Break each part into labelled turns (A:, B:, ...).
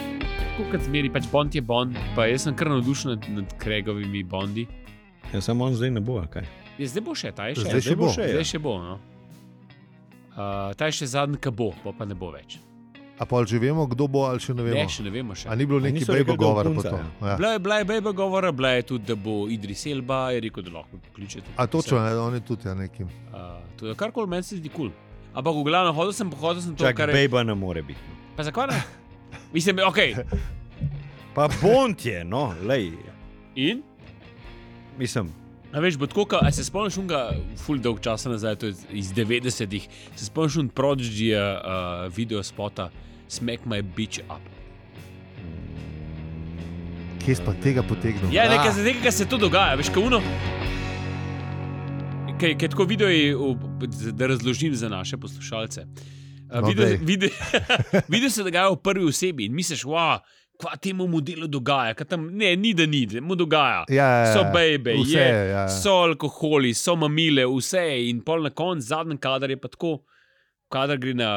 A: tako kot zmeri, pač Bond je Bond, pa jaz sem kar navdušen nad, nad Kregovimi Bondi.
B: Ja, samo on zdaj ne bo, a kaj.
A: Je, zdaj bo še, ta je še.
C: Zdaj še bo.
A: Ja, Zdaj,
C: ja.
A: zdaj še bo. No. Uh, ta je še zadnji, ki bo, pa, pa ne bo več.
C: A pa že vemo, kdo bo ali še ne
A: Ne,
C: vemo.
A: še ne vemo. Še.
C: A ni bilo
B: A
C: neki
B: niso
C: bejbo
B: rekli, kdo
C: govora
B: punca,
C: potem? Ja.
A: Bila je, bila je bejba govora, bila je tudi, da bo Idris Elba, je rekel, da lahko pokličete.
C: A točno, ne, on je tudi ja, nekim.
A: Uh, to je kar koli meni se zdi kul. Cool. Ampak v glavnem hodil sem, pohodil sem to,
B: Čak,
A: kar je.
B: bejba ne more biti. no.
A: Pa zakaj ne? Mislim, ok.
B: Pa Bond je, no, lej.
A: In?
B: Mislim,
A: A veš, bo tako, ka, a se spomniš unga, ful dolg časa nazaj, to je iz 90-ih, se spomniš un Prodigy uh, video spota Smack My Bitch Up.
C: Kje si pa tega potegnil?
A: Ja, nekaj
C: Ah,
A: za nekaj se to dogaja, veš, kaj uno. Kaj, kaj tako video je, ob- da razložim za naše poslušalce. A,
C: No,
A: Video,
C: daj.
A: video, video se dogaja v prvi osebi in misliš, wow, kva temu modelu dogaja, kaj tam ne, ni da ni, da mu dogaja.
C: ja, ja, ja.
A: So bejbe,
C: Vse
A: je,
C: je, ja, ja.
A: so alkoholi, so mamile, vse je. In pol na koncu, zadnji kader je pa tako, kader gre na,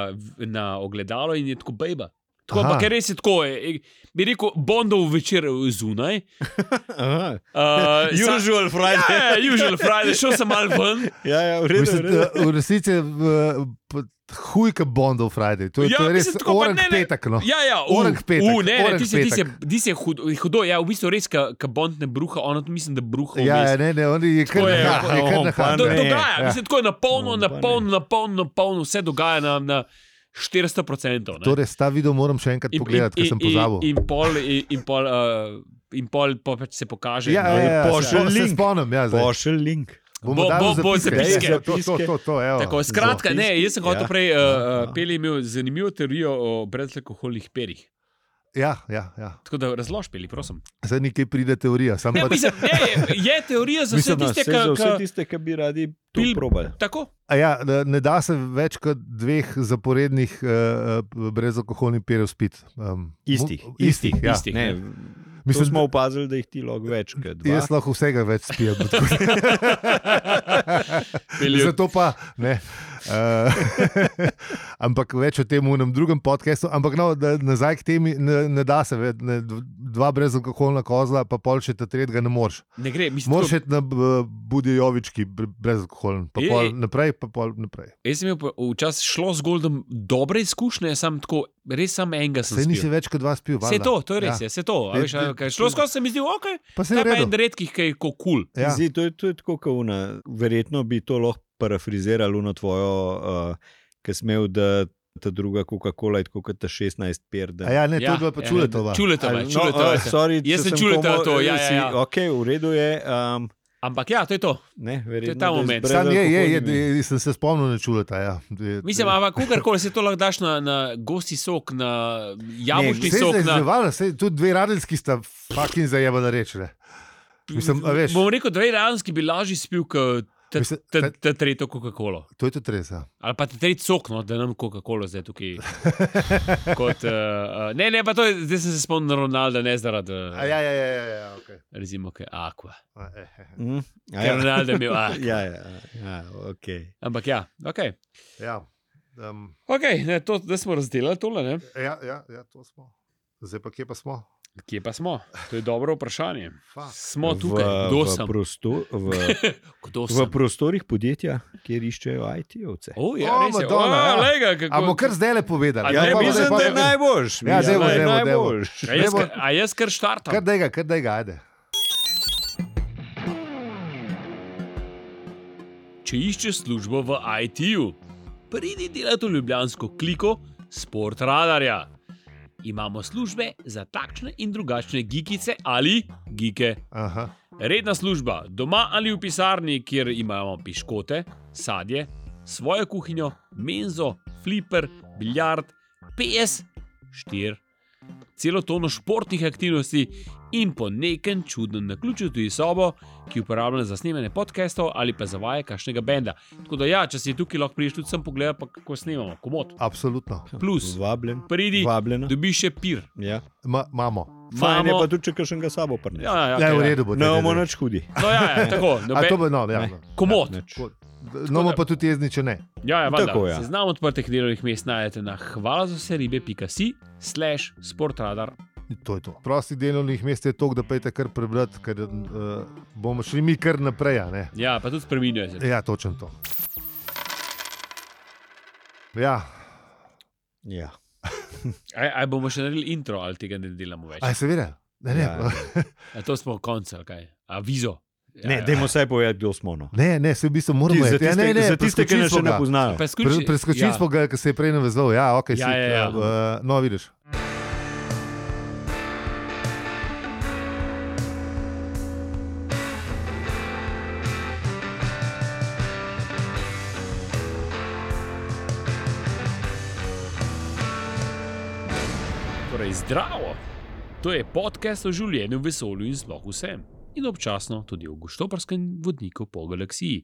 A: na ogledalo in je tako bejba. Tako,
C: Aha.
A: ampak je res je tako, je, je, bi rekel, bondov večer zunaj. eh,
B: aha,
A: Uh,
B: usual Friday.
A: Ja, ja, usual Friday, šel sem malo ven.
B: Ja, ja, v redu. v
C: Mislim,
B: redu.
C: da v resnici je v- p- huj, kot Bondov Friday. To je,
A: Ja,
C: to je res
A: mislim, tako, pa
C: orang
A: ne, ne.
C: petek. No.
A: Ja, ja, u,
C: Orang petek,
A: U, ne, ne,
C: orang
A: ti se, ti se,
C: petek.
A: ti se hudo, hudo, ja, v bistvu res, ka Bond ne bruha, ono tu mislim, da bruha.
C: Ja,
A: vmes.
C: ja, ne, ne, on je kar
A: Tako je,
C: na
A: tako je,
C: kar
B: on
C: na
B: pa
C: hanu.
A: Do,
B: ne.
A: dogaja,
C: Ja.
A: ja. mislim, tako je napolno,
B: No, pa
A: napolno, napolno, napolno, vse dogaja na, na 400%. Ne.
C: Torej, ta video moram še enkrat pogledati, ker sem pozabil.
A: In, in pol, in, in pol, uh, in pol, pol pač se pokaže.
C: Ja,
A: no.
C: ja, ja,
B: Pošlji
C: se- se
B: link.
C: spomnim. Ja, zdaj.
B: Pošelj link.
C: Bomo
A: Bo-
C: dali
A: bo- bo
C: zapiske.
B: zapiske.
C: ja, To, to, to, to, evo.
A: Tako, skratka, ne, jaz sem hotel
B: Ja.
A: prej, uh,
B: Ja.
A: uh, Peli je imel zanimivo teorijo o brezalkoholnih perih.
C: Ja, ja, ja.
A: Tako da razloži, Peli, prosim.
C: Zdaj nekje pride teorija. Sam
A: Ne,
C: pa,
A: mislim, ne, je, je teorija za vse
B: Mislim, no,
A: tiste,
B: saj za vse
A: ki.
B: tiste, ki bi radi to
A: Pil-
B: probali.
A: Tako,
C: A ja, ne- ne da se več kot dveh zaporednih uh, brezalkoholnih pijev spiti. Um,
B: Istih.
C: mu- Istih. Ja.
A: istih.
B: Ne,
A: Ne.
B: Mislim,
C: Mislim,
B: smo opazili, da jih ti log več kot dva.
C: Jaz lahko vsega več spijem. tako.
A: Peli,
C: Zato pa ne. Uh, ampak več o tem v enem drugem podkastu. Ampak no, da, nazaj k temi, ne, ne da se več, ne, dv- dva brezalkoholna kozla, pa pol še ta tretjega ne moreš.
A: ne gre, mislim, tako-
C: Moraš iti na b- Budjovički, br- brezalkoholen, pa
A: Je-
C: pol naprej, pa pol naprej.
A: Jaz sem imel pa včasih šlo z Goldom dobre izkušnje, sam tako, res samo enega sem
C: Sej nisi
A: videl.
C: več kot dva spil.
A: Vse to, to je res, ja.
C: Ja.
A: vse to. a
C: Ne,
A: Veš,
C: ne,
A: a, kaj, šlo skozi se mi zdi, ok,
C: Pa
A: to
C: se je
A: je pa en
C: redo.
A: redkih, ki je kot kul.
C: Ja.
B: Zdi, to, je, to je tako, kot una. Verjetno bi to lahko parafrizirali uno tvojo, uh, ki smel, da ta druga Coca-Cola je tako kot ta 16 per. Da...
C: A Ja, ne, to
A: Ja,
C: je bila pa
A: ja.
C: čuletova.
A: Čuletova,
B: no,
A: čuletova.
B: eh, sorry,
A: Jaz
B: če
A: sem
B: sem
A: čuletova
B: komu-
A: to, ja, ja,
B: si-
A: ja.
B: Ok, v redu je. Um,
A: Ampak ja, to je to.
B: ne,
A: To je
B: verjetno,
A: ta
B: da z
A: moment.
C: Sam je, je, je,
B: brezalkoholnimi.
C: je, sem se spomnil na čuleta. Ja. Je-
A: Mislim, ampak kakorkoli se to lahko daš na, na gosti sok, na jabolčni
C: Saj
A: sok.
C: zdaj
A: Na,
C: izdevala, saj Tudi dve radenski sta fucking zajemana reči. ne. Mislim, a veš,
A: bom rekel, dve ranski bi lažje spil, kot ta,
C: Mislim,
A: ta,
C: ta-
A: ta tretjo Coca-Colo.
C: to je tudi res. ja.
A: Ali pa tretji sok, no, da nam Coca-Cola zdaj tukaj. kot, uh, ne, ne, pa to je, zdaj sem se spomnil Ronalda, ne zaradi. eh,
C: A Ja, ja, ja, ja, ja, okay.
A: recimo, kaj akva.
C: A, eh, eh, eh.
B: Hm? A
A: Ker
B: Ja,
A: Ronaldo je imel akva.
B: ja, ja, ja, ok.
A: Ampak ja, ok.
C: Ja, um,
A: okay ne, to, da smo razdelili tole, ne?
C: ja, ja, ja, to smo. Zdaj pa kje pa smo?
A: kje pa smo? To je dobro vprašanje.
C: Fuck.
A: Smo tukaj, kdo
B: v, v,
A: sem?
B: prosto, v,
A: Kdo
B: v
A: sem?
B: prostorih podjetja, kjer iščejo IT-ovce.
A: O,
C: O,
A: ja, res je. O,
C: Madonna, ja.
A: lega,
C: A
A: kako.
C: bomo kar zdaj le povedali?
A: A Ja, ne,
C: pa bo
A: mislim,
C: zdaj pa-
A: da je naj-
B: najboljši.
C: Ja, dajmo,
B: da je
C: dajmo, dajmo.
B: najboljši.
A: A jaz,
C: Dajmo-
A: kar- a jaz kar štartam.
C: Kar da ga, kar da ga, ajde.
A: Če iščeš službo v IT-ju, pridi delati v ljubljansko kliko Sport Radarja. Imamo službe za takšne in drugačne gigice ali gike.
C: Aha.
A: Redna služba, doma ali v pisarni, kjer imamo piškote, sadje, svojo kuhinjo, menzo, fliper, biljard, PS4, celo tono športnih aktivnosti in po nekem čudnem naključju tudi sobo, ki je uporabljena za snemanje podkastov ali pa za vaje kašnega benda. Tako da ja, če si tukaj lahko prišel, sem pogledal, pa kako snemamo, komod.
C: Absolutno.
A: Plus,
B: Vabljen.
A: pridi,
B: Vabljena.
A: dobiš še pir.
B: Ja.
C: Ma- Imamo.
B: Fajn je
A: Imamo-
B: pa tudi, če kakšen ga sabo prne.
A: Ja, ja,
C: Ja,
A: ja,
C: v
A: ja.
C: redu bo.
B: Ne
C: daj, daj,
B: bomo
C: daj.
B: nič hudi.
A: No, ja, ja, tako,
C: A to
A: nobe,
C: bo, no, ja.
B: Ne.
C: no.
A: komod.
B: Nič.
C: No, bomo pa tudi jezni, če ne.
A: Ja, ja,
B: Tako,
A: tako,
B: ja.
A: ja. Seznam odprtih delovnih mest najdete na hvala za vse ribe.si, slash sportradar
C: To je to. Prostih delovnih mest je toliko, da pejte kar prebrati, ker uh, bomo šli mi kar naprej. a ne.
A: Ja, pa tudi spremenjuje se.
C: Ja, točno to. Ja,
B: Ja.
A: Aj, aj bomo še naredili intro ali tega ne delamo več.
C: aj, seveda. Ne, ne,
B: Ja.
C: ja.
A: A to smo konc ali kaj. A vizo. Ja,
B: Ne, dajmo vsaj povedati, kdo smo. No.
C: ne, ne se v bistvu moramo
B: Ti, za
C: iti. Ja,
B: tiste,
C: ne, ne,
B: za tiste ki
C: preskočili
B: nas še
C: smo
B: ne
C: ga.
B: poznajo.
A: Preskoči,
C: Pre, preskočili ja. smo ga, ker se je prej navezal. Ja, okay,
A: Ja,
C: šit,
A: ja, ja.
C: Uh, no, vidiš.
A: Torej, zdravo. To je podcast o življenju, vesolju in sploh vsem. In občasno tudi o goštoprskem vodniku po galaksiji.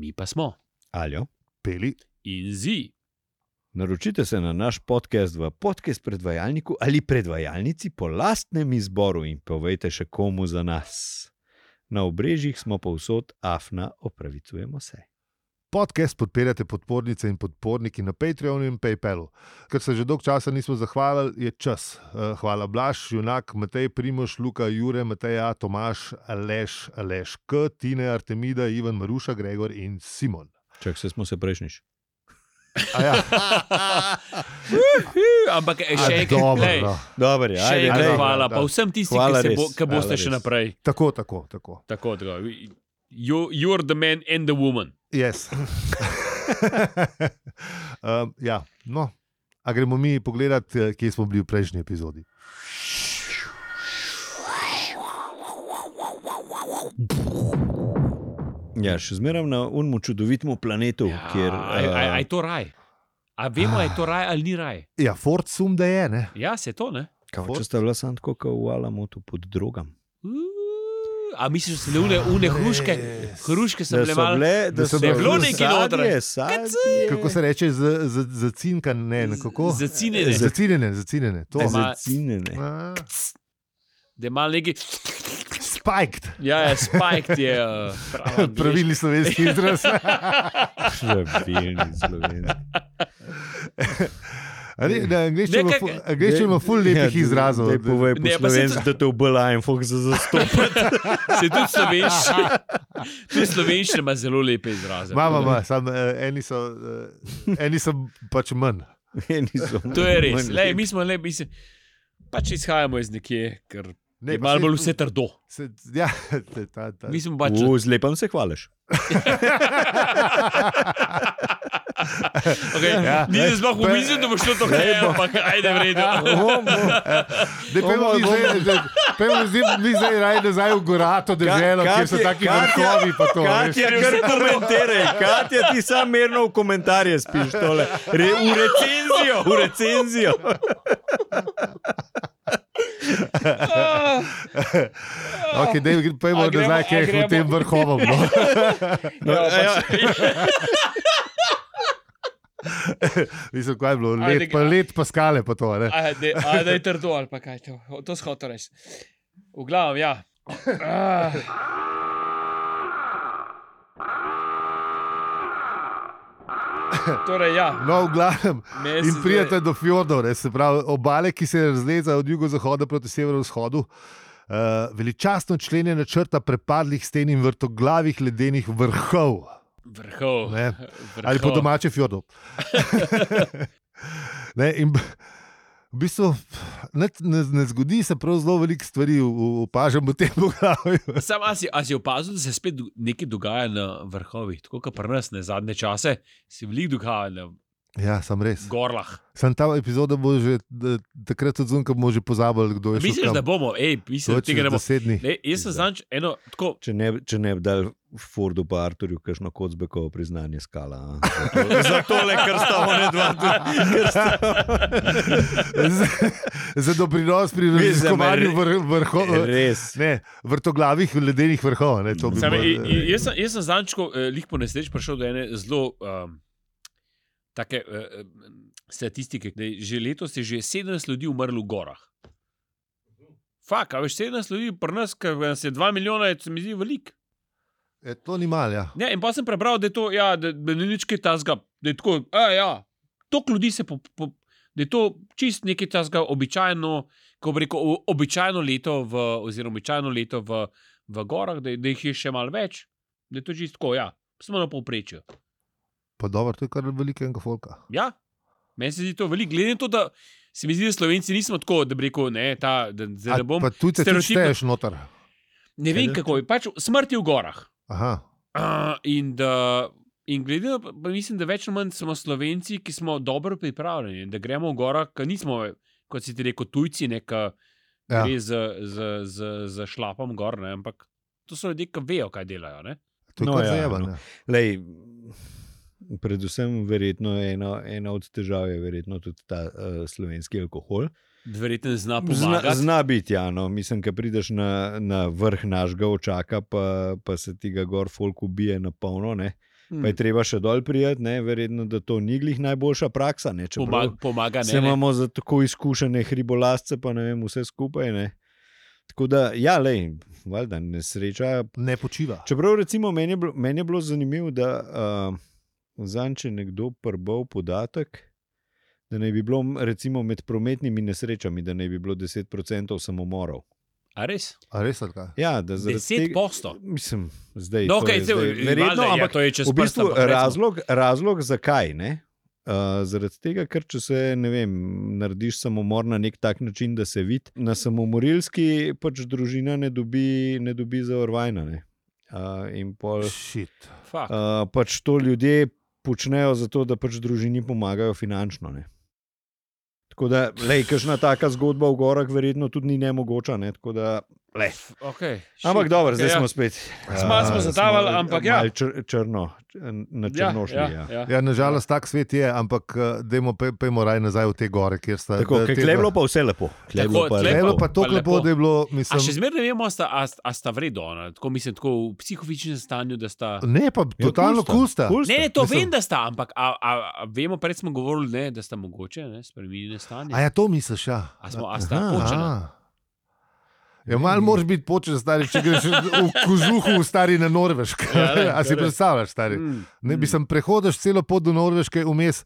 A: Mi pa smo
B: Aljo.
C: Peli.
A: in zi.
B: Naročite se na naš podcast v podcast predvajalniku ali predvajalnici po lastnem izboru in povejte še komu za nas. Na obrežjih smo povsod, afna, opravičujemo se.
C: Podcast podpirate podpornice in podporniki na Patreonu in PayPalu. Ker se že dolgo časa nismo zahvalili, je čas. Eh, Hvala Blaž, Junak, Matej, Primoš, Luka, Jure, Mateja, Tomaš, Aleš, Aleš K, Tine, Artemida, Ivan, Maruša, Gregor in Simon.
B: Čak se smo se prejšnjič.
C: A Ja,
A: Ampak eh,
C: a
A: še enkrat,
C: dobro,
A: glej,
C: no.
B: Dobar je,
A: še
B: ajde,
A: enkrat
B: glej.
C: dobro.
A: hvala. Pa
C: da.
A: vsem tistim,
B: Hvala
A: ki, se
B: res,
A: bo, ki
B: hvala
A: boste še
B: res.
A: naprej.
C: Tako, tako, tako.
A: Tako, tako. You, you're the man and the woman.
C: Yes. um, ja, no. A gremo mi pogledat, eh, kje smo bili v prejšnji epizodi.
B: Ja, še zmeraj na unmu čudovitem planetu, ja, kjer
A: aj, aj,
C: eh,
A: aj to raj. A vemo, je to
C: Ah.
A: raj ali ni raj.
C: Ja, Ford sum, da je, ne?
A: Ja, se to ne.
B: kao,
C: Ford-
B: če sta bila samo tako kot v Alamotu pod drogam.
A: Uuu, A misliš, da so bile une, une hruške?
C: Ah, Res.
A: Hruške so bile malo.
B: bile,
C: da so
A: bile- Je bilo nekaj notri.
B: sadje, sadje.
C: Kako se reče, z- z- zacinkan, ne, nekako?
A: Zacinjene.
C: Zacinjene, zacinjene. To.
A: Ej, ma-
B: Zacinjene.
C: A,
A: Da je malo neki.
C: Spiked.
A: Ja, ja, spike je. eh, prava angleška.
C: Pravilni slovenski izraz.
B: Pravilni slovenci.
C: A ne, Na angleščini ima
A: Nekaj-
C: fu- angleščina ima ful lepih izrazov.
B: Ne Ja, povej po
A: Ne, pa se
B: slovensko,
A: to-
B: da te ubila en fok za zastop.
A: Se tudi slovenščina. Tudi slovenščina ima zelo lepe izraze.
C: Mama, ma, sam, eh, eni, so, eh, eni so pač manj.
B: Eni so
A: To je res.
B: manj
A: Lej,
B: lepi.
A: mi smo le, mislim, pač izhajamo iz nekje, ker
C: Ne,
A: je
C: pa
A: malo
C: saj-
A: bolj vse trdo.
C: Se, ja, ta, ta, ta.
A: Mi smo pač.
B: U, Z lepom se hvališ.
A: Okay, ja,
C: Ja,
A: ni se sploh
C: pa-
A: umislil, da bo šlo to kaj, ampak ajde
C: Ja,
A: vredno.
C: Ne, pejmo
B: Bomo-
C: mi zdaj- da- Pejmo mi zdaj- mi zdaj raje nazaj v gorato deželo,
B: Ka-
C: kjer so
B: Katja-
C: taki
B: Katja-
C: vrhovi. pa to, veš.
B: Katja, kar komentiraj, Katja, ti sam mirno v komentarje spiš tole. Re, v recenzijo, v recenzijo.
C: Okay, dej, pojmo
A: A gremo-
C: nazaj,
A: a
C: kaj je v
A: gremo?
C: tem vrhovom. No.
B: No, ja,
A: pač-
C: pač- Mislim, kaj je bilo,
A: Ajde,
C: let pa, let pa skale. Pa to, ne.
A: Ajde, ajde je trdo ali pa kaj to. To si hotel reči. V glavnem, ja. Ah. Torej, ja.
C: no, v glavnem.
A: me
C: In
A: se
C: prijete do fjordov, ne, se pravi obale, ki se razleza od jugozahoda proti severovzhodu. Uh, veličastno členjena črta prepadlih sten in vrtoglavih ledenih vrhov,
A: zdaj- Vrhov.
C: Ne.
A: vrhov.
C: ali po domače fjordov. ne, in b- v bistvu ne, ne, ne zgodi se prav zelo veliko stvari, u- u- opažam v tem poglavju.
A: Sam a si, a si opazil, da se spet do- nekaj dogaja na vrhovih, tako kot pri nas ne zadnje čase, se veliko dogaja na
C: Ja, sem res.
A: gorlah.
C: Sam ta epizoda bo že da- takrat odzunka, ko bomo že pozabili, kdo je šel.
A: Misliš,
C: kam.
A: da bomo, hej, mislim, da
C: To je
A: tega ne
C: čez
A: bomo.
C: deset dni.
A: Ne, jaz sem znal eno tako
B: Če ne, če ne bi dal Fordu pa Arturju kakšno kocbekovo priznanje skala. a? Za tole- Za tole, ker sta one dva tudi. ker sta-
C: za, za doprinos pri
B: Mislim,
C: raziskovanju
B: re- e,
C: vr, vrho,
B: Res.
C: ne, vrtoglavih ledenih vrhov. Ne, to bi
A: Sam,
C: bilo, e,
A: i,
B: e,
A: i, jaz sem, jaz sem zančko, eh, lih po nesreči prišel do ene zelo um, take eh, em, statistike, da je že letos je že 17 ljudi umrlo v gorah. Fak, a veš, 17 ljudi pri nas, ker nas je 2 milijona, je, se mi zdi veliko.
C: e, to ni malo. Ja.
A: Ne, in pa sem prebral, da je to, ja, da, da ni nič kaj tazga, da je tako, "E, a ja, toliko ljudi se po, po, da je to čist nekaj tazga, običajno, kako bi rekel, o- običajno leto v, oziroma običajno leto v, v gorah, da, da jih je še malo več, da je to čisto tako, ja, smo na povprečju.
C: Pa dobro, to je kar velikega folka.
A: Ja, meni se zdi to veliko, glede na to, da se mi zdi, da Slovenci nismo tako, da bi rekel, ne, ta, da, da,
C: A
A: da bom.
C: Pa tudi če
A: stereotipno-
C: šteješ noter.
A: Ne vem,
B: Kaj?
A: kako je, pač smrt je v gorah.
C: Aha.
A: Uh, in, da, in glede na to, pa mislim, da več ali manj smo Slovenci, ki smo dobro pripravljeni, da gremo v gora, ki nismo, kot si ti rekel, tujci, neka
C: Ja.
A: ja. z, z, z, z šlapom gor, ne? ampak to so ljudje, ki vejo, kaj delajo. Ne?
C: To je
B: No,
C: no, kot
B: ja,
C: ja, zajeba.
B: no.
C: No.
B: Lej, predvsem, verjetno eno, ena od težav je verjetno tudi ta uh, slovenski alkohol.
A: Verjetno zna
B: Zna,
A: pomagati.
B: zna biti, ja, no. mislim, da prideš na, na vrh našega očaka, pa, pa se ti ga gor folk ubije na polno. Ne.
A: Hmm,
B: Pa je treba še dol prijeti, ne. verjetno, da to ni glih najboljša praksa. Ne, čeprav
A: Pomaga, pomaga
B: Se
A: ne, ne.
B: imamo za tako izkušene hribolazce, pa ne vem, vse skupaj. Ne. Tako da, ja, lej, valjda nesreča
C: Ne počiva.
B: Čeprav recimo meni je bilo, meni je bilo zanimivo, da uh, zanj, če nekdo prbal podatek, da naj bi bilo m, recimo med prometnimi nesrečami, da naj bi bilo 10% samomorov.
A: A res?
C: A res ali kaj?
B: Ja, da zaradi
A: Deset
B: tega-
A: posto.
B: Mislim, zdaj
A: No,
B: to
A: kaj
B: je
A: se
B: zdaj verjetno, ampak
A: to je čez
B: v bistvu
A: prst, ampak recimo-
B: razlog, razlog, zakaj ne. Uh, zaradi tega, ker če se ne vem, narediš samomor na nek tak način, da se vidi, na samomorilski pač družina ne dobi, ne dobi zavarovanja. ne. Uh, in pol
C: Šit.
A: Fak.
B: Uh, pač to ljudje počnejo zato, da pač družini pomagajo finančno. Ne. Tako da, lej, kakšna taka zgodba v gorah, verjetno tudi ni nemogoča. Ne? tako Da, lej.
A: Okay,
B: ampak dobro, zdaj
A: ja.
B: smo spet.
C: Malo smo
A: zatavali,
B: smo,
A: ampak
B: eh,
A: ja.
B: malo Čr, črno, čr- na črnošni. Ja, ja, ja.
A: ja.
C: Ja, nažalost, tak svet je, ampak eh, dajmo, pe- pojdimo raje nazaj v te gore, kjer sta.
B: Tako,
C: da
B: ker
C: te-
B: tle je bilo pa vse lepo. Tle je
A: Tako,
B: bilo pa
A: tle
C: Tule je bilo pa
A: lepo,
C: tako
A: pa lepo.
C: lepo, da je bilo,
A: A še
C: mislim.
A: zmeraj ne vemo, a sta, a, a sta vredno, ona, tako mislim, tako v psihofičnem stanju, da sta.
C: Ne, pa
B: Ja,
C: totalno
B: kulsta,
C: kusta.
B: kulsta.
A: Ne, ne, to
C: Mislim-
A: vem, da sta, ampak a, a, a vemo, prej smo govorili, ne, da sta mogoče ne, spremenili stanje.
C: A ja, to misliš, ja.
A: A smo- a sta
C: Aha.
A: počena?
C: Ja, malo moraš biti počen, stari, če greš v kožuhu, v stari na Norveško.
A: Ja, ne,
C: A si
A: torej.
C: predstavljaš, stari?
A: Mm,
C: Ne,
A: mm.
C: bi sem prehodiš celo pot do Norveške, vmes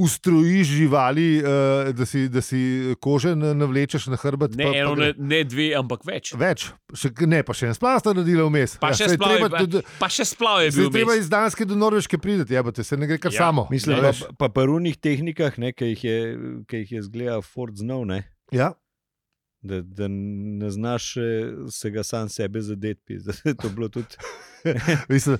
C: ustrojiš živali, eh, da si, da si kože na- navlečeš na hrbet.
A: ne,
C: pa,
A: eno,
C: pa
A: ne,
C: gre-
A: ne dve, ampak več.
C: Več, še, ne, pa še en splav sta naredila vmes.
A: Pa
C: Ja,
A: še
C: saj je
A: splav je
C: treba tudi-
A: bil- pa še splav je
C: saj je
A: bil.
C: treba
A: vmes.
C: iz Danske do Norveške priti, ja, te se ne gre kar
A: Ja.
C: samo.
B: Mislim,
C: a
B: pa,
C: veš.
B: pa prvnih tehnikah, ne, ki jih je, ki jih je zgleda Ford znal, ne,
C: Ja,
B: da, da ne znaš eh, se ga sam sebe zadeti. To je bilo tudi
C: mislim,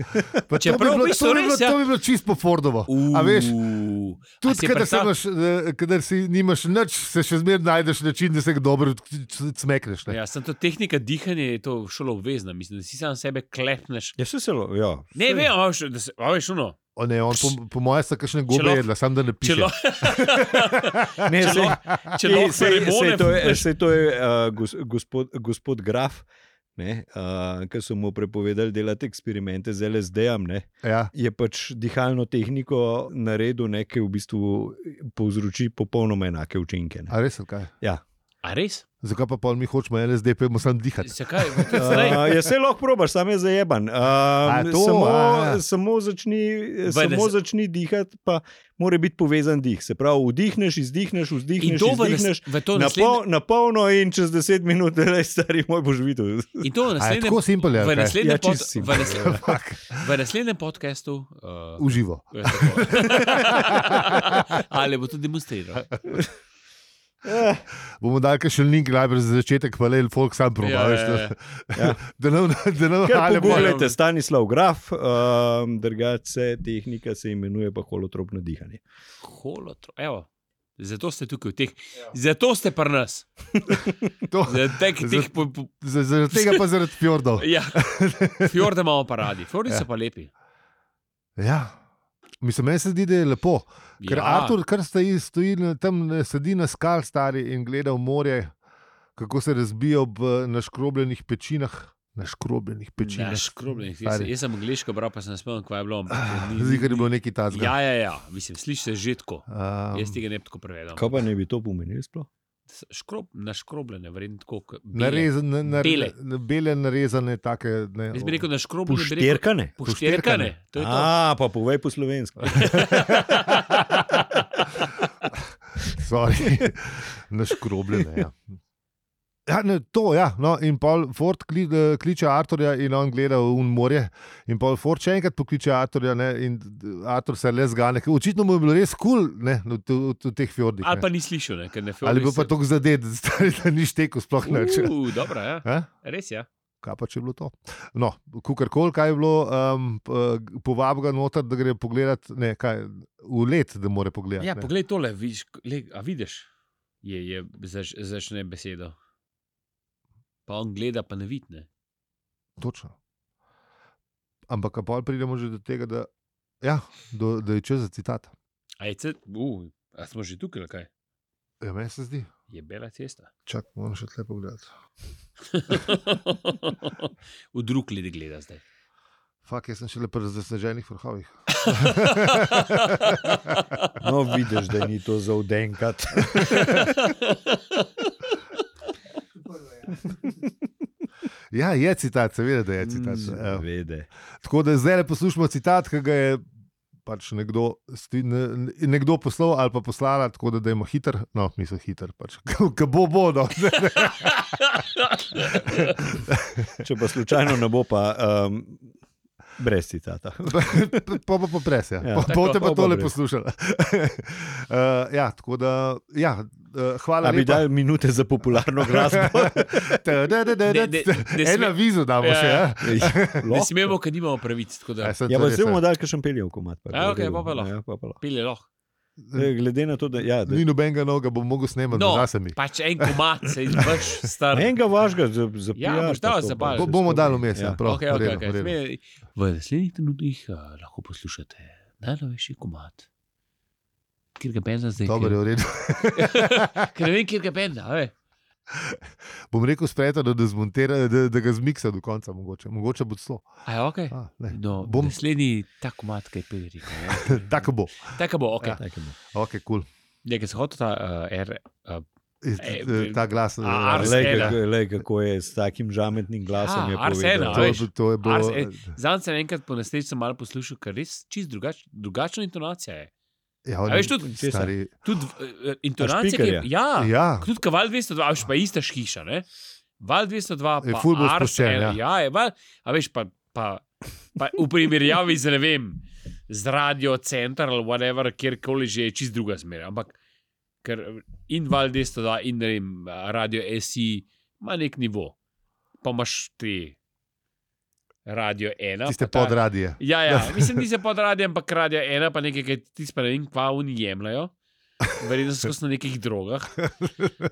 C: pa to, bi
A: Čeprav v
C: bilo,
A: bistvu
C: to, bi
A: res,
C: bilo,
A: ja.
C: to bi bilo čisto po Fordovo. A veš,
A: Uuu, a si
C: Tudi,
A: je
C: kadar,
A: predstav-
C: predstav... imaš, eh, kadar si nimaš nič, se še zmeraj najdeš način, da se ga dobro c- c- cmekneš. ne.
A: Ja, sem to tehnika dihanja, je to šolo obvezna, mislim, da si sam sebe klepneš.
B: Ja, vse se lo, ja.
A: Ne, vem, a veš, da se, a veš, ono.
C: O Ne, on, po, po mojem, so kakšne
A: Če
C: gobe
A: lahko-
C: jedla, sam da ne piše. Ja,
A: Če lo-
B: Ne,
A: če
B: sej-
A: lo- če
B: sej-
A: lahko
B: sej-
A: remone
B: sej to je,
A: fukneš.
B: sej to je uh, gos, gospod, gospod Graf, ne, uh, ki so mu prepovedali delati eksperimente z LSD-om, ne,
C: Ja.
B: je pač dihalno tehniko naredil, ne, ki v bistvu povzroči popolnoma enake učinke. Ne. Ja.
C: A res, ali kaj?
A: A res?
C: Zakaj pa pol mi hočemo LSD, pa jim sam dihati?
A: Zakaj? Zdaj,
B: Uh, je se lahko probaš, sam je zajeban. Uh,
C: A, to,
B: samo,
C: a, ja.
B: samo, začni,
A: Vede
B: samo
A: se-
B: začni dihati, pa mora biti povezan dih. Se pravi, vdihneš, izdihneš,
A: in
B: vdihneš,
A: to v, nas,
B: izdihneš.
A: v to
B: Na,
A: naslednje.
B: pol, na polno in čez 10 minut, da stari moj boš videl.
A: In to v
C: A je
A: naslednjem,
C: tako simpel,
A: v
C: ali kaj?
A: naslednjem,
B: Ja,
A: pod,
B: čisto
A: v,
B: simpel,
A: naslednjem,
C: Fak,
A: v naslednjem podkastu. Uh,
C: V živo.
A: Ja, tako. Ali bo to demonstriral?
C: Bomo dali še link najprej za začetek, pa le folk sam proba.
A: Ja,
C: veš,
A: ja,
C: da-
B: ja.
C: Da nam da nam
B: Kar
C: ali bo-
B: pogledajte, Stanislav Graf, um, drugače tehnika se imenuje pa holotropno dihanje.
A: Holotro. Evo. Zato ste tukaj, v teh, zato ste pri nas,
C: To-
A: zaradi teh, teh po, po,
C: za- Zaradi tega pa zaradi fjordov.
A: ja. fjorde imamo pa radi, fjorde ja. so pa lepi.
C: Ja. Mislim, meni se zdi, da je lepo. Ker ja.
A: ja.
C: Artur, kar stoji, stoji na- tam, ne, sedi na skal, stari in gleda v morje, kako se razbija ob eh, naškrobljenih pečinah. Naškrobljenih pečinah.
A: Naš krobljen, jaz,
C: Stari.
A: jaz sem angliško bral, pa sem spomnil, kaj je bilo. ampak ni- ni-
C: Zdi, da je bilo nekaj tazga.
A: Ja, ja, ja, mislim, slišiš se že tako.
C: Um,
A: Jaz tega ne bi tako prevedel.
B: Kaj pa ne bi to pomenilo sploh?
A: Škrob, naškrobljene, verjetno tako. kot bele.
C: narez, na, na,
A: Bele.
C: Na, bele narezane, take. Ne,
A: Jaz bi rekel, da škrobljene. bi rekel-
B: Pošterkane.
A: Pošterkane, to je to.
B: A, pa povej po slovensko.
C: Sorry, naškrobljene. Ja. Ja, ne, to, ja. No, in pol Ford kli, eh, kliče Arturja in on gleda v un morje. In pol Ford še enkrat pokliče Arturja ne, in eh, Artur se le zgane. ker Očitno mu je bilo res kul cool, ne, v, t- v, t- v teh fjordih.
A: Ali
C: ne.
A: pa ni slišal, ne, ker ne
C: Ali
A: filmiraš.
C: bo pa tako zadet, stari, da ni štekel sploh nič.
A: Uh, dobro, ja.
C: Eh?
A: Res je. Ja.
C: Kaj pa če je bilo to? No, kukorkoli, kaj je bilo, um, povabim ga noter, da gre pogledat, ne, kaj, v let, da more pogledati.
A: Ja,
C: ne.
A: poglej tole, vidiš, le, a vidiš, je, je zač, začne besedo. Pa on gleda, pa ne vidne.
C: Točno. Ampak a pol pridemo že do tega, da, ja, do, da je čez za citat.
A: A je cel, uh, a smo že tukaj, ali kaj?
C: Ja, meni se zdi.
A: Je bela cesta.
C: Čak, moram še tle pogledati.
A: v drug ljudi gleda zdaj.
C: Fak, jaz sem šele pri zasneženih vrhovih.
B: No, vidiš, da ni to za udenkat.
C: Ja, je citat, seveda, da je citat. Mm.
B: Vede.
C: Tako da zdaj le poslušamo citat, ki ga je pač nekdo, sti- ne- ne- nekdo poslal ali pa poslala, tako da dajmo hiter, no, mislim hiter, pač, ki bo no. bodo.
B: Če pa slučajno ne bo, pa um, brez citata.
C: Pa bo pres, ja.
B: Ja.
C: ja
A: Tako,
C: Bote
B: pol
C: pa
B: bo
C: tole
B: brez.
C: poslušali. uh, ja, tako da, ja, uh, hvala
B: Ali bi
C: lepa.
B: dal minute za popularno glasbo?
C: Da, da, da, da,
A: Ne,
C: da.
A: ne, ne
C: Ena
A: sme-
C: vizu damo
A: Ja,
C: še.
A: ja.
C: Ja.
A: Ne
B: Lahko.
A: smemo, ker nimamo pravic. tako da
C: Ja, sem
B: Ja,
C: to
B: pa
C: res,
B: se bomo
C: ja.
B: dali, ker sem peljev komat. Pa,
A: Ja, okej,
B: v redu.
A: pa pa lahko.
B: Ja, pa pa lahko.
A: Pelje lahko.
B: E, Glede na to, da, ja, da
C: Ni nobenega noga, bom mogel snemati
A: No,
C: no. za sami.
A: pač en komat, se izvrš star.
B: enega vašega za, za
A: Ja,
B: PR,
A: boš dal
B: pa to
A: za
B: pa
A: bal.
B: se
A: Bo-
C: bomo
B: skozi.
C: dali vmes, ja. prav.
A: Okay,
C: v
A: okay,
C: redu,
A: okay.
C: v redu.
A: Sme, v naslednjih trenutkih uh, lahko poslušate najnovejši komat, kjer ga benda zdaj
C: Dobro, je v redu.
A: Ker ne vem, kjer ga benda. a ve.
C: Bom rekel sprejeto, da, da, zmontira- da, da ga zmiksa do konca, mogoče, mogoče bo celo.
A: A je ok?
C: A, ne.
A: No, bom...
C: Bom-
A: Naslednji ta komat, ki je pil rekel. ja.
C: Tako bo.
A: Tako bo, ok.
C: Ja.
A: Ja.
B: Tako je bilo.
C: Ok, kul. Cool.
A: Nekaj se hoče ta uh, R. Uh,
C: Iz-
A: Ej,
C: eh, Ta glas. eh,
A: a, Ars
B: Glej,
A: ena.
B: kako- glej, kako je s takim žametnim glasom.
A: Ja,
B: je
A: Ars
B: povedal.
A: ena,
C: to,
A: a
C: je
A: veš,
C: bil- to je bilo.
A: Ars ena. Zanj sem enkrat po nesreči malo poslušal, ker res čist drugač, drugačna intonacija je.
C: Ja,
A: A
C: on
A: veš
C: je
A: tudi-
C: stari.
A: Tudi uh, intonacija, ki je.
B: Špikerja?
A: Ja, ja.
C: Ja,
A: Tudi kot Val 202, a veš pa ista hiša, ne? Val 202,
C: Je
A: pa
C: ful bolj
A: Ars
C: sproščen,
A: ena,
C: ja.
A: ja, je val, a veš pa, pa, pa v primerjavi z ne vem, z radio center ali whatever, kjerkoli že je čist druga smer. Ampak ker in Val 202, in ne vem, radio SI ima nek nivo, pa imaš te radio ena.
C: tiste
A: pa ta-
C: podradije.
A: Ja, ja. mislim, da se podradi, ampak radio ena, pa nekaj, ki ti spet ne vem, kva oni jemljajo. Verjetno so skozi na nekih drogah.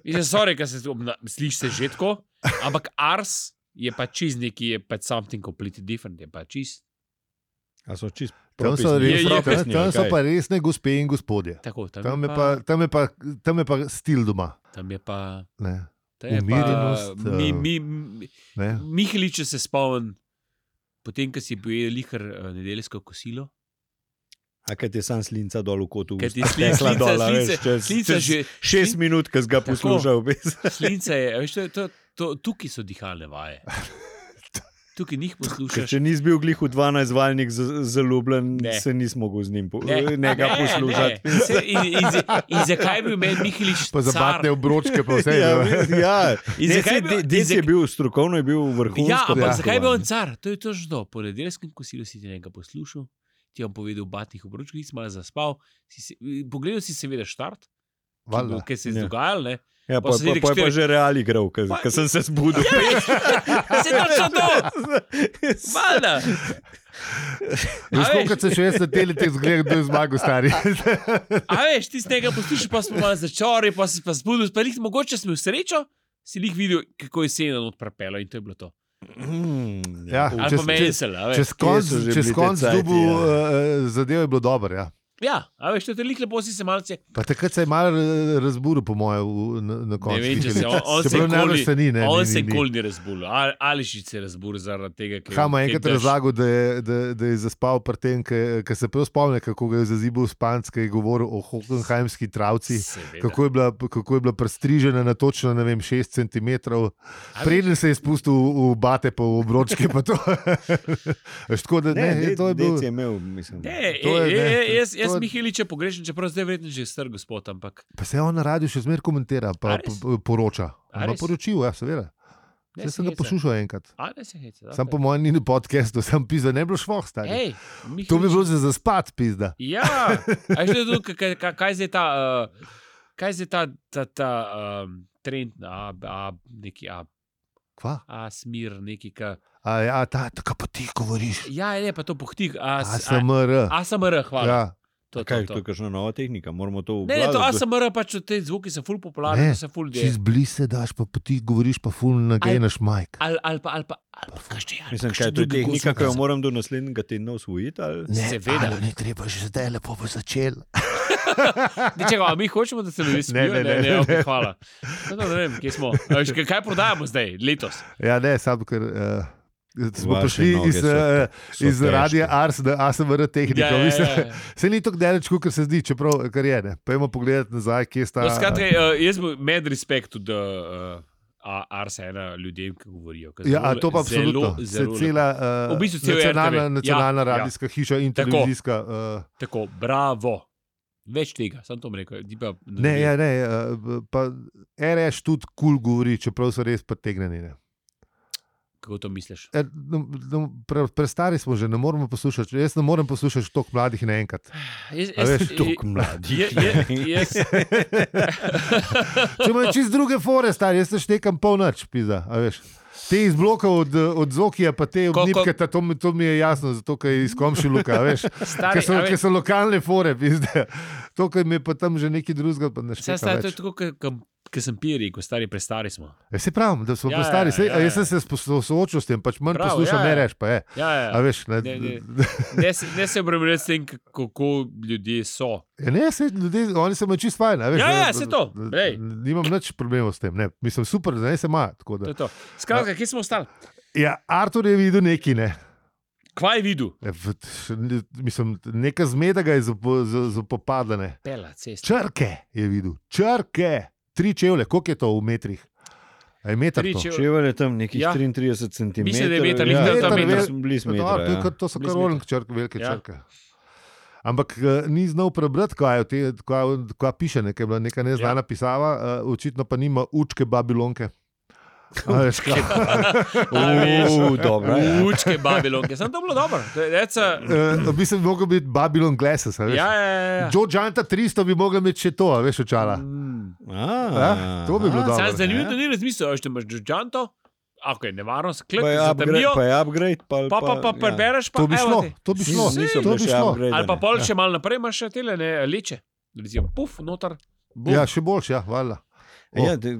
A: Mislim, sorry, ker se obna- slišiš se že tako, ampak Ars je pa čist neki, je pa something completely different, je pa čist
B: A so čist
C: Tam so,
B: propisni?
C: res,
A: Je- je
C: tam,
B: propisni,
C: tam so
B: kaj?
C: pa resne gospe in gospodje.
A: tako. Tam,
C: Tam je
A: je
C: pa, tam je pa, tam je pa stil doma.
A: tam je pa,
C: Ne,
A: tam je pa
C: Umirjenost,
A: mi,
C: eh. ja.
A: mi, mi,
C: ne.
A: Mihelič če se spomni, potem, ko si bil lihar eh, nedeljsko kosilo.
B: A kaj ti sam slinca dol v kotu?
A: Kaj ti
B: usta
A: slinca-
B: tekla
A: slinca-
B: dol, a veš,
A: slinca-
B: čez-
A: slinca
B: čez
A: že-
B: Šest
A: slin-
B: minut, ki si ga
A: Tako.
B: poslušal, veš.
A: Slince je, veš, to, je- to, to, tukaj so dihalne vaje. Tukaj njih
B: Ker
A: poslušaš.
B: če nisi bil glih v 12 valnik z- zaljubljen,
A: Ne.
B: se nisi mogel z njim po, ne, ga poslušati.
A: Ne. Se- In, in, in, in zakaj je bil meni Mihelič?
C: Pa zabatne obročke, pa vse.
B: Ja,
C: ne.
B: veš, ja.
A: In
B: Ne,
A: zakaj
B: saj
A: je bil-
B: De- Dec
A: in
B: je
A: zak-
B: bil strokovno, je bil vrhunsko.
A: Ja, ampak
C: Ja.
A: zakaj je bil on
B: podkovan.
A: car? To je to ždo. Po nedeljskem kosilu si ti nekaj poslušal, ti je on povedal v batnih obročkih, si malo zaspal. Si se, pogledal si seveda štart, ki je bil-
C: Valjda.
A: ki se je
B: Ja.
A: dogajal. Ne?
B: Ja,
A: Pa
B: pa,
A: so
B: pa,
A: videli
B: pa je pa
A: štiri-
B: že real igral,
A: Pa- Ja,
B: ker sem se zbudil.
A: Se je točno to! Valjda!
C: Veš,
A: A veš?
C: koliko se še jaz na teletih zgleda, kdo je zmagal, stari.
A: A veš, ti si tega poslušal, pa smo malo začori, pa si pa zbudil, pa jih mogoče smo v srečo, si jih videl, kako je sena not prepelo in to je bilo to.
B: Mm,
C: Ja,
A: Ali
C: Čez-
A: pa mensel, a veš.
C: Čez konc,
B: so že
C: čez
B: bili te
C: konc
B: cajti,
C: dubu
B: ja.
C: ja. zadev je bilo dobro. Ja.
A: Ja, a veš, to je lik lepo, si se malce.
C: Pa takrat se je malo eh, razburil, po mojem, v- na, na koncu.
A: Ne vem, če se on, on se
C: je
A: nikoli-
C: najbolj stani. Ne,
A: On
C: ni,
A: se
C: ni, ni.
A: nikoli ni razbul, ali, ali še se je razbul zaradi tega, ker
C: Hama je
A: ker
C: enkrat
A: drž-
C: razlagal, da je, da, da je zaspal pri tem, ker se prav spomni, kako ga je zazibal spanc, ki je govoril o hokenhajmski travci.
A: Seveda.
C: Kako je, bila, kako je bila prestrižena na točno ne vem, 6 cm, preden se je spustil v v bate, pa v obročke. Pa to. Veš, tako da,
B: Ne,
C: ne,
B: ne,
C: to je bilo.
B: je imel, mislim.
A: Ne,
C: To je,
A: je, je,
C: ne,
A: je, jaz,
C: to
A: E, jaz jaz Miheliče pogrešam, čeprav zdaj verjetno že star gospod, ampak
C: Pa se on na radiju še zmeraj komentira,
A: A
C: pa
A: res?
C: po- poroča.
A: A
C: Pa
A: res?
C: poročil, ja, seveda.
A: ne
C: Jaz
A: se
C: sem ga
A: heca.
C: poslušal enkrat.
A: A ne se hece.
C: Sam po mojem ni na podkastu, sem pisal, ne bi bilo šlo stari.
A: Ej, Mihelič.
C: To bi bilo za zaspat, pizda.
A: Ja, a že tu, kaj, kaj, kaj zdaj ta, uh, kaj zdaj ta, ta, ta um, trend, a, a, neki, a,
C: Kva?
A: a smer, neki, ka,
C: A ja, ta, tako pa ti govoriš.
A: ja, je pa to pohtik, a, s- a,
C: ASMR.
A: ASMR, hvala. Ja,
C: Ja.
A: to, to,
B: Kaj, to
A: to.
B: je kakšna nova tehnika, moramo to
A: Ne, ne, to
B: obvladati.
A: ASMR pač te zvoki so ful popularni,
C: Ne,
A: to se ful
C: Čez
A: dela.
C: blizu se daš, pa, pa ti govoriš, pa ful nageneš majk.
A: Ali ali pa, ali pa, ali pa, kaj še je.
B: Mislim, kaj je to tehnika, ki jo moram do naslednjega tedna usvojiti? Ali?
C: Ne,
A: seveda.
C: ali Ne, treba že zdaj lepo bo začel.
A: Čekaj, a mi hočemo, da se ljudje smejijo. Ne, ne, ne, ne, ne, ne. Hvala. No, no, ne vem, kje smo. A veš, kaj- Kaj prodajamo zdaj, letos?
C: Ja, ne, sam ker. Uh, Smo
B: Vaše
C: prišli
B: noge
C: iz,
B: so-
C: eh,
B: so
C: iz
B: težke.
C: radia Ars, da ASMR tehniko.
A: Ja, ja, ja, ja.
C: Se ni tako daleč, kot se zdi, čeprav kar je. Ne. Pojmo pogledati nazaj, kje sta.
A: No, skratka, eh, jaz bi med respekt do uh, Arsena ljudem, ki govorijo. ker
C: ja, a
A: zelo-
C: to pa
A: zelo,
C: absolutno.
A: Zelo,
C: Se cela
A: V
C: uh,
A: bistvu cel RTV.
C: nacionalna,
A: Ja,
C: nacionalna
A: ja.
C: radijska hiša in
A: Tako.
C: televizijska. Uh,
A: Tako, bravo. Več tega, sem to rekel. di Pa,
C: ne, ja, ne, uh, pa RS tudi kul cool govori, čeprav so res pretegnjeni. ne.
A: Kako to misliš?
C: E, no, no, pre, prestari smo že, ne moremo poslušati. Jaz ne morem poslušati toliko mladih naenkrat.
A: Jaz,
C: A veš,
B: toliko mladih.
A: Je, je, jaz,
C: Če imaš čist druge fore, star, jaz neštekam pol noč, pizda. a veš. Te iz blokov od, od Zokija, pa te
A: Ko- ko-
C: od Nipketa, to, mi- to mi je jasno, zato ker je iz Komšiluka, a veš.
A: Stari,
C: Ker
A: a
C: so,
A: veš-
C: ker so lokalne fore, pizda. To, kar mi je pa tam že neki drugega, pa ne
A: Saj, stari, to je
C: štekam.
A: tako, kot sem piri, ko stari prestari smo.
C: Se pravim, da smo
A: Ja,
C: ja, prestari,
A: ja,
C: sej,
A: ja,
C: ja, ja.
A: ja.
C: jaz sem se spo- soočil s tem, pač manj
A: Prav,
C: poslušam,
A: ja,
C: ne
A: ja.
C: reš pa je.
A: Ja, ja.
C: A veš, ne,
A: Ne,
C: ne,
A: ne. Ne, se- ne se obremenjuj s tem, kako ljudje so.
C: Ja, ne se, ljudje, oni se imajo čisto fajn. a Veš,
A: Ja,
C: ne,
A: ja, saj to, glej.
C: Nimam nič problemov s tem, ne. mislim super, da ne se ima. tako da.
A: To je to. Skratka, kje smo ostali?
C: Ja, Artur je videl nekaj, ne.
A: Kva je videl?
C: Ja, v- še ne- Mislim, neka zmeda ga je zapo- za- zapopadla. ne.
A: Pela cesta.
C: Črke je videl, črke, tri čevlje, koliko je to v metrih? A je meter?
A: Tri
C: to?
A: čevlje.
B: Čevel je tam nekih
A: Ja.
B: ja. 33 cm.
A: Mislim, da je meter,
B: ja,
A: lihtar tam
B: ja,
A: meter.
B: smo bili
C: Ja,
B: smo.
C: dobro, to, je
B: Ja.
C: kot- to
A: Blizu
C: so kar
A: metra.
C: rolnik črke, velike
A: Ja.
C: ja. črke. Ampak eh, ni znal prebrati, kaj, je v te, kaj, kaj piše, nekaj je bila neka neznana ja. pisava, uh, očitno pa nima učke Babilonke. A veš, kaj?
A: A veš.
B: U, dobro, ja.
A: Učke Babilonke, sem to bilo dobro. To je, that's a-
C: Eh, Bi se lahko bil Babilon Glasses. a veš.
A: Ja, ja, ja.
C: Joe Janta 300 bi mogel imeti še to, a veš, očala.
A: Mm.
B: A,
C: Ja, to bi bilo
B: aha.
C: dobro.
A: Sam zanimivo,
B: ja.
A: da ni razmislil, ali imaš Džanto, ok, nevarno, sklep,
B: Pa je upgrade,
A: zatemnijo,
B: pa je upgrade. Pa, ja.
A: pa pa pa prebereš, pa
C: To bi
A: evo
C: šlo,
A: te.
C: to bi šlo,
A: Saj.
B: Niso
C: to Ja.
B: bile
C: bi
B: še
C: šlo.
B: upgrade.
A: Ali pa pol še malo naprej imaš še tele, ne, leče, recimo, puf, noter. bum.
C: Ja, še boljše, ja, valjda. O.
B: Ja, de,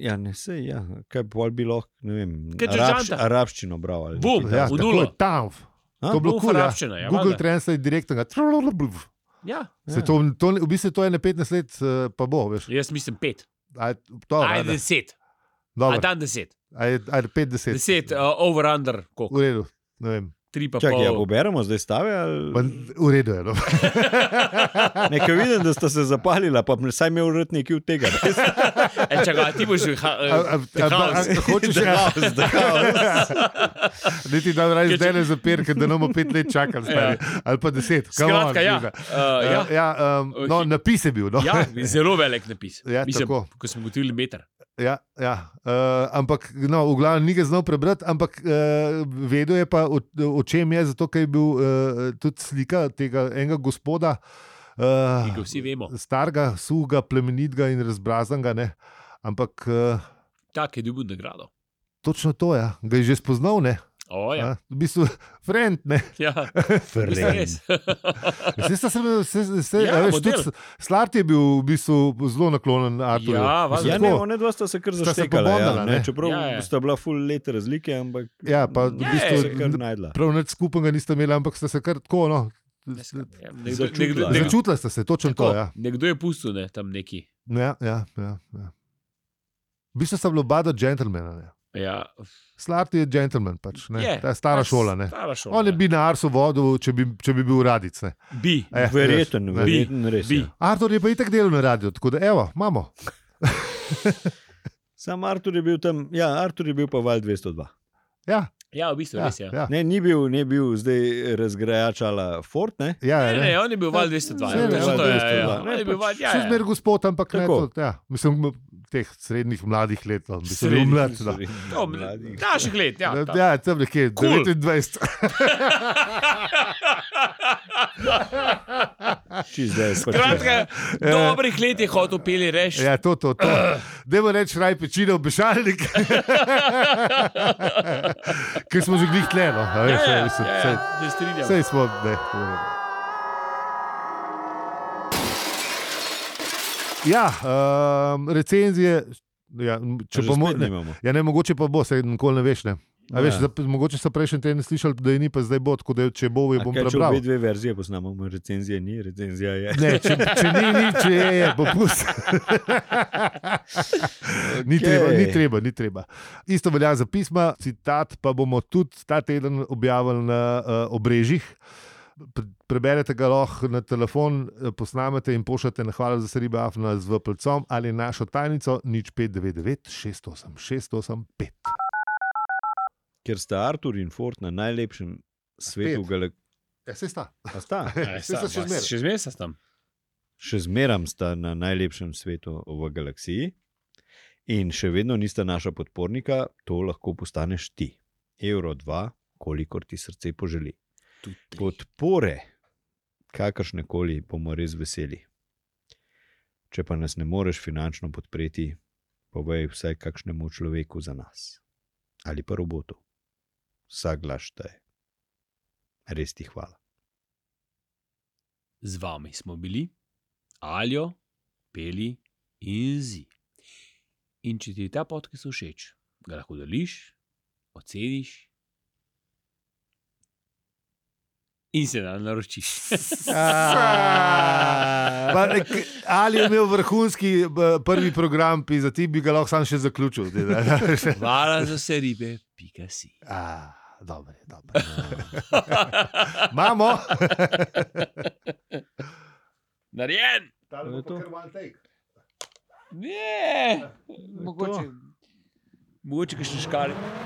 B: ja, ne se, ja. kaj bi pol bilo, ne vem.
A: Kaj Džodžanta?
B: arabščino bral. ali
A: Bum.
B: nekaj
C: Ja,
A: v
B: takega.
A: nulo.
C: tako je tam.
B: A?
C: To je bilo
A: Buf,
C: kul. ja.
A: arabščina, ja,
C: Google
A: valjda.
C: Translate direktno. ga trululululul.
A: Ja.
C: Se To, to, v bistvu to je ne 15 let, eh, pa bo, veš.
A: Jaz mislim pet,
C: A je to,
A: aj
C: ajde,
A: deset, aj
C: dobro.
A: dan deset,
C: A je- a je 50.
A: deset, uh, over under, koliko,
C: V redu, ne vem.
A: tri pa
B: Čakaj, ja,
A: pol.
B: poberemo zdaj stave. Ali...
C: Pa, v redu je. No.
B: Nekaj vidim, da sta se zapalila, pa saj mi je urad nekaj od tega. res.
A: E, čakaj, a ti boš že,
C: A- a- a- a- a- Hočeš
B: The
C: ja,
B: house, the house.
C: da ti da
A: Ker
C: raje
A: če- Ja.
C: zdaj le zapir, ker da nam bo pet let čakali, stari. ali pa deset. come on,
A: skratka, ja,
C: pizda.
A: uh, ja.
C: Ja, ja, um, no,
A: Hi-
C: napis je bil. No.
A: Ja, zelo velik napis.
C: Ja,
A: Mislim,
C: tako.
A: ko smo ugotovili meter.
C: Ja, ja. Uh, ampak, no, v glavnem, ni ga znal prebrati, ampak uh, vedel je pa, o, o čem je, zato ker je bil uh, tudi slika tega enega gospoda,
A: ki
C: uh,
A: ga vsi vemo.
C: starega, suga, plemenitega in razbraznega. Ne? Ampak uh,
A: Tak je dobil nagrado.
C: točno to je, ja. ga je že spoznal, ne?
A: O, ja.
C: A, v bistvu, friend, ne.
A: Ja, mislim,
B: Frlen.
A: res.
C: Vse sta se mi, vse, vse,
A: Ja,
C: ja, veš,
A: model.
C: tudi S- Slart je bil v bistvu zelo naklonjen Arturju.
A: Ja, valjda.
B: Ja,
C: Mislim,
B: ne,
C: tako.
B: ona dva sta se kar
C: Sta se
B: zaštekala, ja,
C: pobondala,
B: ne,
C: ne.
B: čeprav
A: Ja, ja.
B: sta bila full let razlike, ampak
C: Ja, pa v
B: Ja,
A: bistvu-
B: se kar najdla.
C: Prav nič skupnega nista imela, ampak sta se kar tako, no,
A: Ja, Nekdo,
B: Začutila,
A: nekdo,
B: ja.
A: nekdo,
C: začutila sta se, točno
A: tako,
C: to. Ja.
A: nekdo je pustil ne, tam neki.
C: Ja, ja, ja, ja. V bistvu sta bila oba dva džentlmena. ne.
A: Ja,
C: Slart je džentlmen, pač, ne.
A: Je,
C: ta je stara
A: pač
C: šola. Ne.
A: Stara šola.
C: On je
A: ja.
C: bi na Arsu vodil, če bi, če bi bil radic. ne.
A: Bi.
C: Eh,
B: Verjeten,
C: veš,
A: bi,
B: verjeten, res.
A: bi.
B: ja.
C: Artur je pa itek delal na radiju, tako da evo, imamo.
B: Sam Artur je bil tam, ja, Artur je bil pa val 202.
C: Ja,
A: Ja, v bistvu ja, res je. Ja.
C: ja.
B: Ne, ni bil, ni bil zdaj razgrajačala Fort, ne?
C: ja,
A: Ne,
C: ja,
A: ne, on je bil val 202.
C: Ne,
A: ja,
C: ne,
A: točno to je,
B: 202,
A: ja, ja.
B: ne,
A: On je bil
B: pač
A: val, ja,
C: Še
A: ja.
C: zmeraj gospod, ampak ne
B: Tako.
C: tudi. Ja. Mislim, m- teh srednjih mladih let. No. Mislim,
A: Srednjih,
C: mlad, da.
A: To,
B: Mladih.
A: Naših let, ja. ta-
C: Ja, tam nekje
A: Cool.
C: 29.
B: Čisto zdaj. pač je.
A: Kratka, dobrih let je hotel peli reči.
C: Ja, to, to, to. Dajmo reči, raj pečino, obešalnik. Ker smo že glih no, tleno.
A: ja, ja, ja, ja, se strinjam.
C: Sej smo, ne. ne. Ja, um, recenzije. Ja, m- če
B: Že
C: pa mo,
B: spet
C: ne,
B: nimamo.
C: ja, ne, mogoče pa bo, se nikoli ne veš. Ne. A Veš,
B: Ja.
C: da, mogoče so prejšnji teden slišali, da je ni, pa zdaj bo, tako da jo- če bo, jo
B: A
C: bom
B: kaj, če
C: prebral.
B: Obe dve verzije poznamo, recenzija ni, recenzija je.
C: Ne, če, če ni, ni, če je, je bo pust. ni, treba, ni treba, ni treba. Isto velja za pisma, citat pa bomo tudi ta teden objavili na uh, obrežjih. Pre- Preberete ga lahko na telefon, eh, posnamete in pošljete na hvala za serijo Afna z VPL-com ali našo tajnico nič 599 68 685.
B: Ker sta Artur in Ford na najlepšem svetu
C: Spet.
B: galaktike.
C: Ja, se sta.
B: Sta,
A: Ja,
C: Saj
A: sta-
C: sta še
A: pa-
C: zmeraj.
A: Še zmeraj sem tam.
B: še zmeraj sta na najlepšem svetu v galaksiji in še vedno nista naša podpornika, to lahko postaneš ti. Euro 2, kolikor ti srce poželi. Podpore, kakršne koli, bomo res veseli. Če pa nas ne moreš finančno podpreti, povej vsaj kakšnemu človeku za nas ali pa robotu. Vsak glas šteje. Res ti hvala.
A: Z vami smo bili, alijo, peli in zi. In če ti je ta podcast všeč, ga lahko deliš, oceniš in se nam naročiš.
C: Pa, eh, k- Ali je imel vrhunski b- prvi program, za ti bi ga lahko sam še zaključil. te, da.
A: Hvala za vse ribe, pika si.
C: A, Dobro, je, dobro. Imamo.
A: Narejen!
B: bo pa kar
A: É. Ne, mogoče. Mogoče, ki še škare.